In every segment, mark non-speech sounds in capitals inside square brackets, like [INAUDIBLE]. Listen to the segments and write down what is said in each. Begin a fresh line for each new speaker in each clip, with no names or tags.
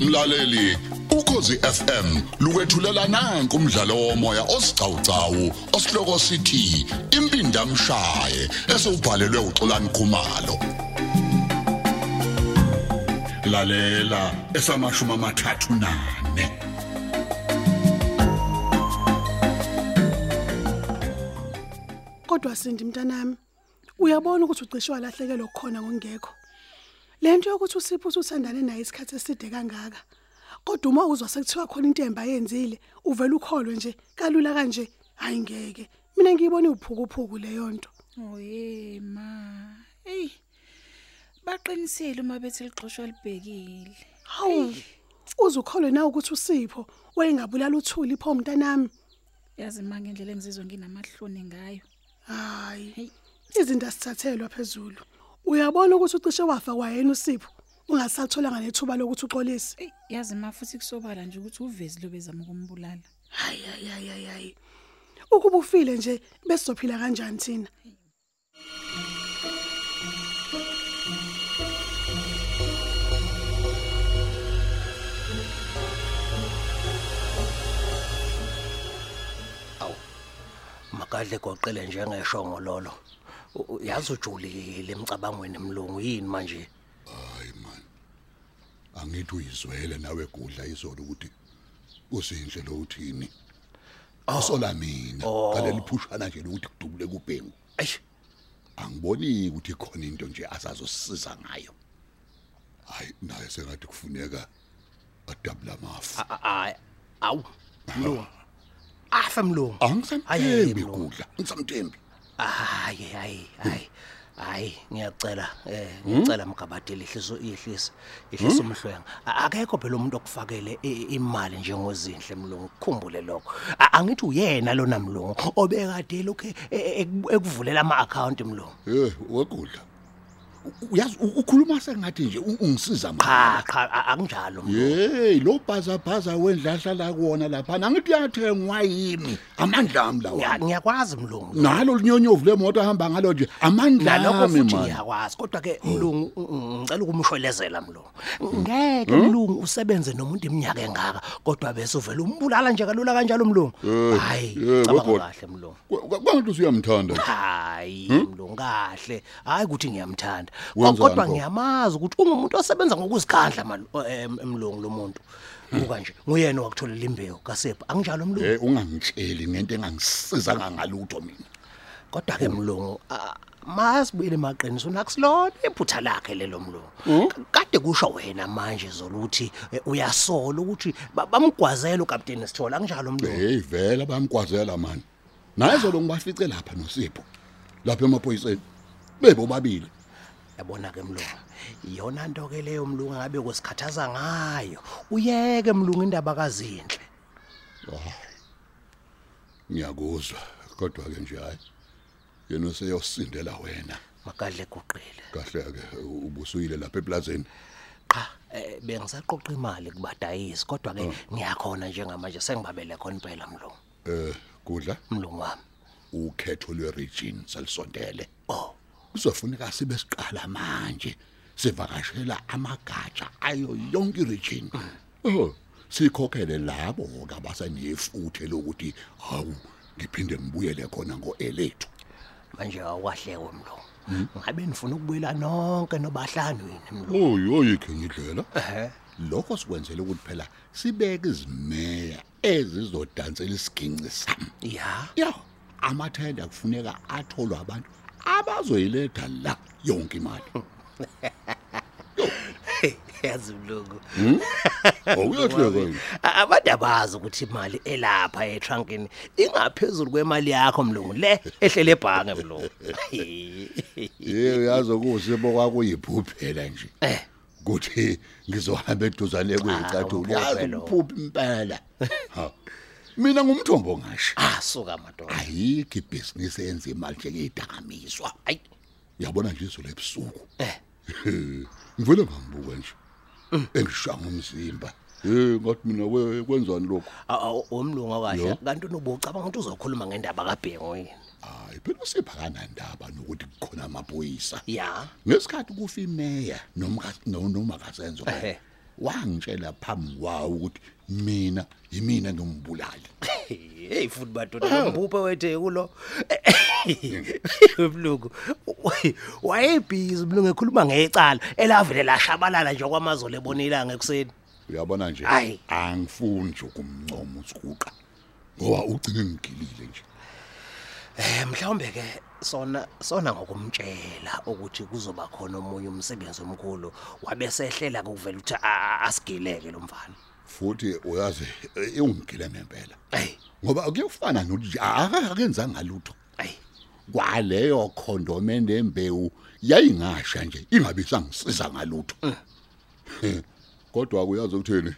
Mlaleli, ukhosi FM lukwethulela nanku umdlalo womoya osiqhawqhawo osihloko sithi impinda mshaye esubhalelwe uXolani Khumalo. Lalela esamashuma amathathu nane.
Kodwa Sindi mntanami, uyabona ukuthi ucishwa lahlekelwe khona ngokungekho. Le nto yokuthi usipho uthandane naye isikhathi eside kangaka. Kodwa uma uzwa sekuthiwa khona into emba yenzile, uvela ukholwe nje kalula kanje hayi ngeke. Mina ngiyibona uphukuphuku leyo nto.
Oye ma. Ey. Baqinisele uma bethi lixoshwa libhekile.
Hawu. Uzukholwe na ukuthi usipho wayengabulala uthuli pho mntanami?
Yazi ma ngendlela engizizwa nginamahloni ngayo.
Hayi. Izinto asithathelwa phezulu. Uyabona ukuthi ucishe wafa kwayena usipho ungasatholanga nethuba lokuthi uxolise.
Ey, yazi ma futhi kusobala nje ukuthi uvezi lo bezama ukumbulala.
Hayi hayi hayi, hayi hayi. Ukuba ufile nje bese sizophila kanjani thina?
makadle goqele njengeshongo lolo U- u- yazi ujulile emcabangweni mlungu yini manje
Hayi man. Angithi uyizwele nawe gudla izolo ukuthi uzinhle lo uthini. Asola mina ngaleli phushana nje lokuthi kudubule kubhengu.
eish
Angiboni ukuthi khona into nje asazosiza ngayo. Hayi naye sengathi kufuneka adabula mafu.
a- a- awu mlungu afa
ah,
mlungu Hayi,
Angisamthembi
mlungu.
gudla, ngisamthembi.
hayi hayi hayi hayi ngiyacela eh ngicela mgabade lihliso ihlisa ihlisa umhlwenga A- akekho phela umuntu okufakele i- imali njengozinhle mlungu kukhumbule lokho A- angithi uyena lona mlungu obekade e, lokho ekuvulela ama account mlungu
Eh, wegudla. U- Uyazi u- ukhuluma sengathi nje u- ungisiza
cha
manje.
cha a- akunjalo mlungu
Hey, lo bhaza bhaza wendlahla la kuona lapha. Angithi uyathengwa yimi. Amandla ami lawo.
Ngiya- ngiyakwazi mlungu
Nalo linyonyovu lemoto ahamba ngalo nje. Amandla
nalokho
ami
futhi
man.
ngiyakwazi kodwa ke mlungu mm, mm, ngicela ukumshwelezela mlungu
Hmm?
ngeke mlungu usebenze nomuntu iminyaka engaka kodwa bese uvela umbulala nje kalula kanjalo mlungu hayi
eh,
cabanga
webhola.
kahle mlungu
Kwangathi usuyamthanda. nje.
hayi
Hmm?
mlungu kahle hayi ukuthi ngiyamthanda Ko-
Wenzani
kodwa
pho?
ngiyamazi ukuthi ungumuntu osebenza ngokuzikhandla malu- eh, mlungu lo muntu
Hmm.
buka nje nguyena owakutholela imbewu kasepha anginjalo mlungu
Eh, ungangitsheli ngento engangisizanga ngalutho mina.
kodwa ke mlungu ah, masibuyele maqiniso nakusilona iphutha lakhe lelo mlungu K- kade kusho wena manje zoluthi eh, uyasola ukuthi ba- bamgwazela ukapteni sithola kanjalo mlungu
Hey, vele bayamkwazela man. Naye zolo ngibafice lapha noSipho. Lapha emaphoyiseni. Bebo babili.
yabona ke mlungu iyona nto ke leyo mlungu angabe kusikhathaza ngayo uyeke mlungu indaba kazinhle
Ngiyakuzwa kodwa ke nje hayi. Yena useyosindela wena.
makadle guqile
Kahle ke ubusuyile lapha eplazeni.
qha eh, bengisaqoqa imali kubadayisi kodwa ke ngiyakhona njengamanje sengibabele khona impela mlungu
Eh, kudla.
mlungu wami
ukhetho lweregion salisondele
oh
kuzofuneka sibe siqala manje sivakashela amagatsha ayo yonke iregion oh sikhokhele labo kabasenefuthe lokuthi hawu ngiphinde ngibuyele khona ngoelethu
manje awukahlekwe mlungu ngabe nifuna ukubuyela nonke nobahlanu yini mlungu
oyoyikhe ngidlela
ehe
lokho sikwenzele ukuthi phela sibeke izimeya ezizodansela isiginci sami
ya
ya amathenda kufuneka atholwe abantu abazoyiletha la yonke imali
yazi mlungu
Oh, awuyahleka yini
A- abantu abazi ukuthi imali elapha etrunkini ingaphezulu kwemali yakho mlungu le ehlele ebhange mlungu
Yebo yazi okusibo kwakuyiphuphela nje.
Eh.
Kuthi ngizohamba eduzane kweyicathulo.
Ah,
Yazi
uphuphe
uphuphi impela. Ha. Mina ngumthombo ngasho.
asuka madoda
Ayikho ibusiness eyenza imali nje ngedakamiswa.
ayi
Yabona nje izolo ebusuku.
eh
[LAUGHS] Ngivule ngambuka nje. Engishanga umzimba. Eh ngathi mina we kwenzani lokho?
a- a- omlungu akahle kanti unobucabanga ukuthi uzokhuluma ngendaba kabhengu yini
Hayi hayi phela usiphakana ndaba nokuthi kukhona amaphoyisa
ya
ngesikhathi kufa imeya nomka- no- noma kasenzo
Ehhe.
wangitshela phambi kwawo ukuthi mina yimina ngimbulali
hey futhi badoda ngibuphe wethe [LAUGHS] kulo mlungu wayebhizi mlungu ekhuluma ngecala elavele lashabalala nje kwamazolo ebonilanga ekuseni
[LAUGHS] uyabona nje
Hhayi.
angifuni nje ukumncoma usiguqa ngoba ugcine ngigilile nje
Eh mhlawumbe ke sona sona ngokumtshela ukuthi kuzoba khona omunye umsebenzi omkhulu wabesehlela ukuvela ukuthi a- asigileke lo mfana.
futhi uyazi eh, ungigile ngempela
Hey,
ngoba kuyafana nokuthi akakenzanga lutho
hey.
kwaleyo khondome nembewu yayingasha nje ingabe sangisiza ngalutho kodwa kuyazi ukuthini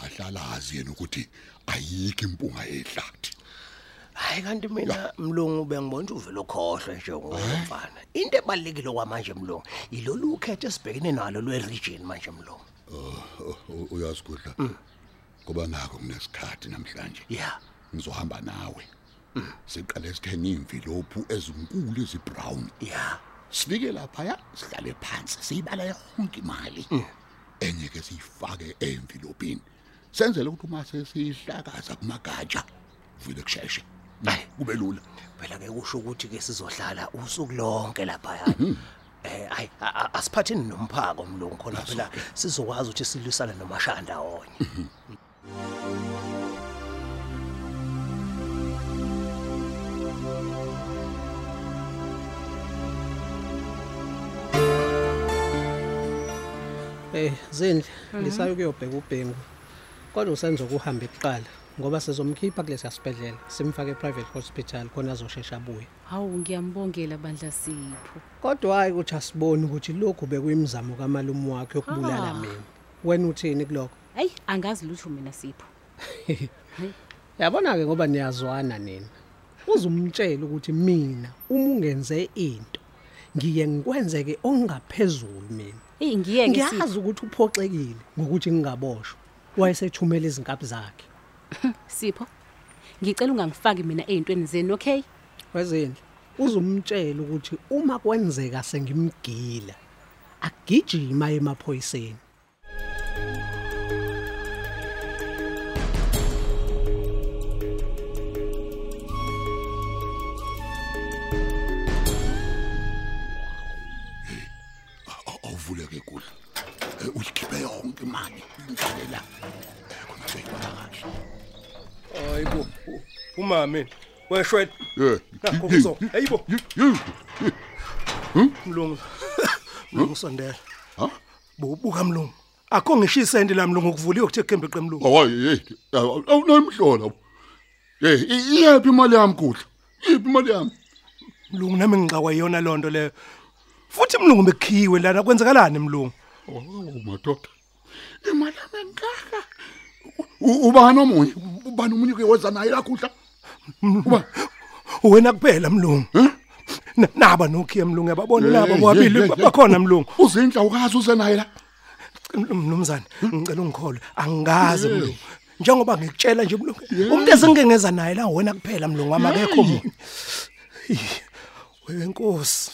ahlala azi yena ukuthi ayikho impunga yehlathi
Hayi kanti mina mlungu bengibona ukuthi uvela ukhohlwe nje
Eh?
ngomfana. Into ebalekile kwamanje mlungu yilolu ukhetho esibhekene nalo lwe region manje mlungu.
uyasigudla ngoba nako kunesikhathi namhlanje
Yeah.
ngizohamba nawe siqale sithenge imvilophu ezinkulu ezibrown
Yeah.
sifike lapha sihlale phansi siyibala yonke imali enye ke siyifake emvilopini senzele ukuthi uma sesihlakaza kumagatsha vile kusheshe
Hayi.
kube lula
Phela ke kusho ukuthi ke sizohlala usuku lonke lapha
Mhm.
yani. Eh ayi a- a- asiphatheni nomphako mlungu khona phela sizokwazi ukuthi silwisane nomashanda onye.
Eh zindle ngisayo kuyobheka ubhengu. Kodwa usenza ukuhamba ekuqala ngoba sizomkhipha kulesi sibedlela simfake private hospital khona azoshesha abuye.
hawu ngiyambongela bandla sipho
Kodwa hayi ukuthi asibone ukuthi lokhu bekuyimizamo kamalume wakhe yokubulala
Ah.
mina. Wena uthini kuloko?
hayi angazi lutho mina sipho
Yabona ke ngoba niyazwana nina. Uzumtshela ukuthi mina uma ungenze into ngiye ngikwenzeke ongaphezulu mina.
eyi ngiyeke sipho
Ngiyazi ukuthi uphoxekile ngokuthi ngingaboshwa. Wayesethumela izinkabi zakhe.
sipho ngicela ungangifaki mina ey'ntweni zenu okay
wezindle uzumtshela ukuthi uma kwenzeka sengimgila agijima aye emaphoyiseni
Aw- awuvuleke kudla Eh, uyikhiphe yonke imali ngihlale la Eh, khona seyibala kahle
hayibo uma mina weshwele
Eh,
nakho kuzo hayibo
yi- yi-
mlungu
Hmm?
mlungu sondela
ha
bobuka mlungu akho ngisho isende lami mlungu ukuvula ukuthi ekhembe qe
Oh,
mlungu
awaye oh, awunomhlola hey i- iyaphi imali yami kudla iphi imali yami
mlungu nami ngixakwa yona lonto leyo futhi mlungu bekhiwe lana kwenzekalani mlungu
Oh madoda. Eh, Imalama ngakha. Ubani omunye? Ubani omunye kuyenza naye lakhudla? Uba
wena kuphela mlungu Na- naba nokhiya mlungu yababona
Eh,
laba bobabili
Hm? Hey, hey, hey.
bakhona mlungu
Uzindla ukazi uze naye la. Hm?
mnumzane ngicela ungikhole angazi mlungu njengoba ngikutshela nje mlungu umuntu esengengeza naye la wena kuphela mlungu amakekho munye wewe nkosi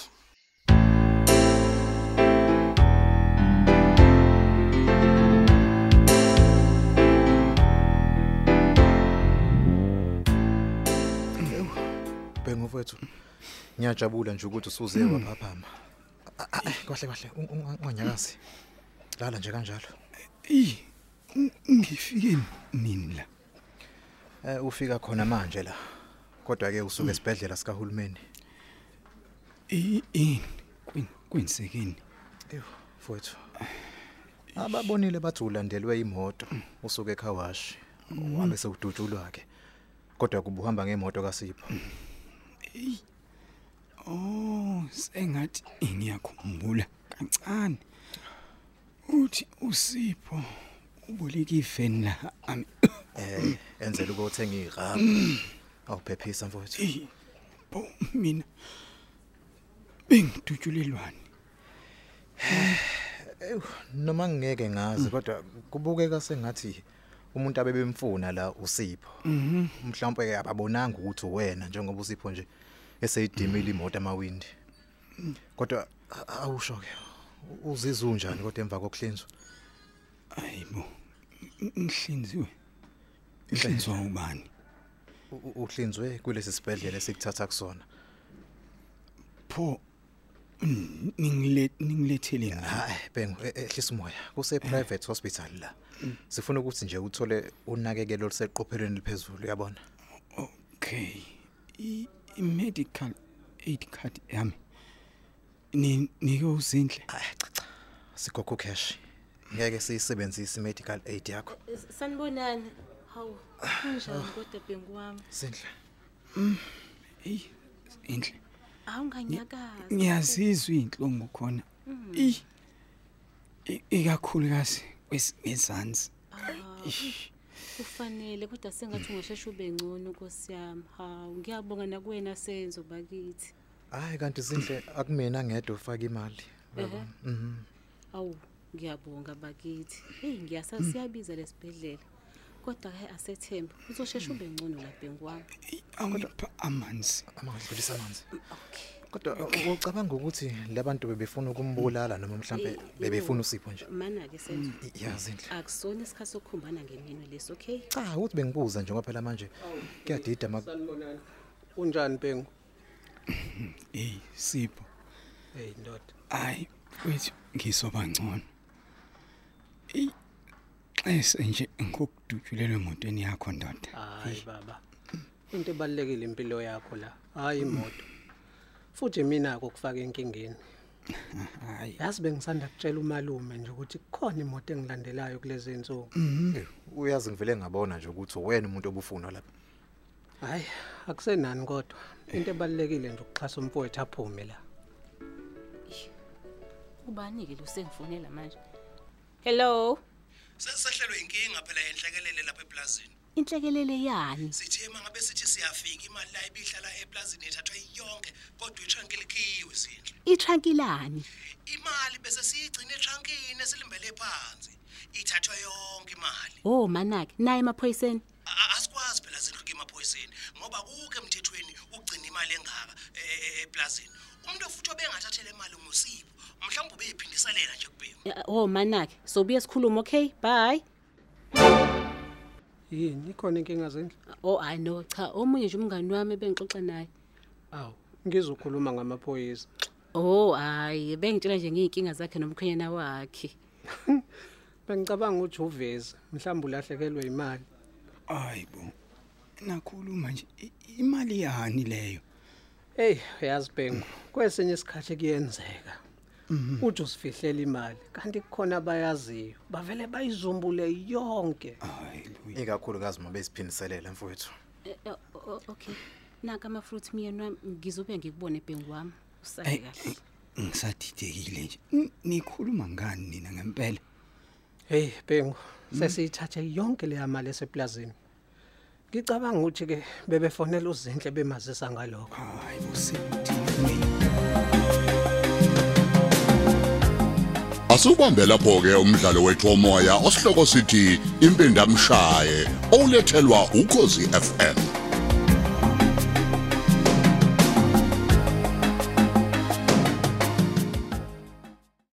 Bengofethu. Ngiyajabula nje ukuthi usuze waphaphama. A- a- ayi, Kahle kahle un- un- unganyakazi. Lala nje kanjalo.
ngifike nini la
Eh ufika khona manje la. Kodwa ke usuke esibhedlela sikahulumeni.
I- ini Eh, Kwin- kwinisekeni
Eyo, mfowethu. Ababonile bathi ulandelwe imoto usuke ekhawashi. Wabe sewudutshulwa ke. Kodwa kubuhamba ngemoto kaSipho.
oh sengathi ngiyakhumbula kancane uthi usipho uboleka ifeni la ami [COUGHS]
Eh enzela ukuthenga igrabha. Awuphephisa mfowethu.
eyi bo mina bengidutshulelwane
Noma ngeke ngazi kodwa kubukeka sengathi umuntu abebemfuna la uSipho. Mhm. Mhlawumbe ke ababonanga ukuthi wena njengoba uSipho nje eseyidimile imoto amawindi kodwa a- awusho ke uzizwa unjani kodwa emva kokuhlinzwa
Hayibo. Ngihlinziwe. Ngihlinzwa ubani?
U- u- uhlinzwe kulesi sibhedlela esikuthatha kusona
Pho n- ningile ningilethele ngani?
hayi bengu e- ehlisa umoya kuse private hospital la sifuna ukuthi nje uthole unakekelo oluseqophelweni liphezulu uyabona
Okay. I i- medical aid card yami. Ni nike uzinhle.
sigogo cash ngeke siyisebenzise i-medical aid yakho
sanibonani hawu kunjani kodwa bhengu wami
sindle
Hey, inhle.
awunganyakazi
Ngiyazizwa izinhlungu khona. I i- ikakhulukazi kwesizansi.
kufanele kodwa sengathi ungasheshe ube ngcono nkosi yami hawu ngiyabonga nakuwena senzo bakithi
hayi kanti sindle akumina ngedwa ufaka imali
ehe
mhm
awu ngiyabonga bakithi heyi ngiyasasiyabiza lesibhedlela kodwa-ke asethembe uzosheshe ube ngcono la bhengu wami
Awungipha amanzi.
amangadlulisa amanzi kodwa ucabanga ukuthi labantu bebefuna ukumbulala noma mhlambe
Eh,
bebefuna
yo.
usipho nje
mana-ke senzo
ya zindle
akusona isikhathi sokukhumbana ngeminwe lesi okay
cha ukuthi bengibuza nje ngoba phela manje kuyadida ma
sanibonani unjani bengu
Hey, Sipho.
hey ndoda
Ay, wethu ngisoba ngcono. Ey, xese nje ngikudutshulelwe emotweni yakho ndoda.
hayi baba into ebalekile impilo yakho la hayi imoto futhi mina akufaka enkingeni
Hayi,
yazi bengisanda kutshela umalume nje ukuthi kukhona imoto engilandelayo kulezi insuku
Eh, uyazi ngivele ngabona nje ukuthi wena umuntu obufuna lapha
hayi akusenani kodwa into ebalekile nje ukuxhasa umfowethu aphume la
ubani-ke lo sengifonela manje hello
Sesehlelwe inkinga phela yenhlekelele lapha eplazini.
inhlekelele yani
Sithe mangabe sithi siyafika imali la ibihlala eplazini ethathwa yonke kodwa itrankilikhiwe sindle.
itrankilani
Imali bese siyigcina etrankini esilimbele phansi. Ithathwa yonke imali.
o manake naye emaphoyiseni
A- Asikwazi phela sindle kemaphoyiseni ngoba kuke emthethweni ukugcina imali engaka e- e- eplazini. Umuntu futhi obengathathele imali ngusipho. Mhlawumbe ubeyiphindiselela nje kubhengu.
Eh, o manake sobuye sikhuluma okay bye
yini ikhona inkinga zendlu
o hayi no Oh, cha omunye nje umngani wami ebengixoxa naye
awu ngizokhuluma ngamaphoyisa
o hhayi Oh, bengitshela nje ngiy'nkinga zakhe nomkhwenyana wakhe
bengicabanga ukuthi uveze mhlawumbe ulahlekelwe imali
ayibo. Nakhuluma nje i- imali yani leyo?
Hey, uyazi Bengu, kwesinye isikhathi kuyenzeka. Uthi usifihlela imali, kanti kukhona abayaziyo, bavele bayizumbule yonke.
Hayi,
ikakhulukazi uma beziphindiselela mfowethu
Eh, eh, o- o- okay naka ama-fruit myeni wami ngizobe ngikubone ebhengu wami usale
Hey.
kahle
ngisadidekile nje. N- Nikhuluma ngani nina ngempela?
Hey Bengu, sesiyithathe yonke leya mali eseplazini. Ngicabanga ukuthi ke bebefonela uzinhle bemazisa ngalokho.
Hayi, usithini?
Asubambe lapho ke umdlalo wethomoya osihloko sithi impindamshaye olethelwa ukozi FM.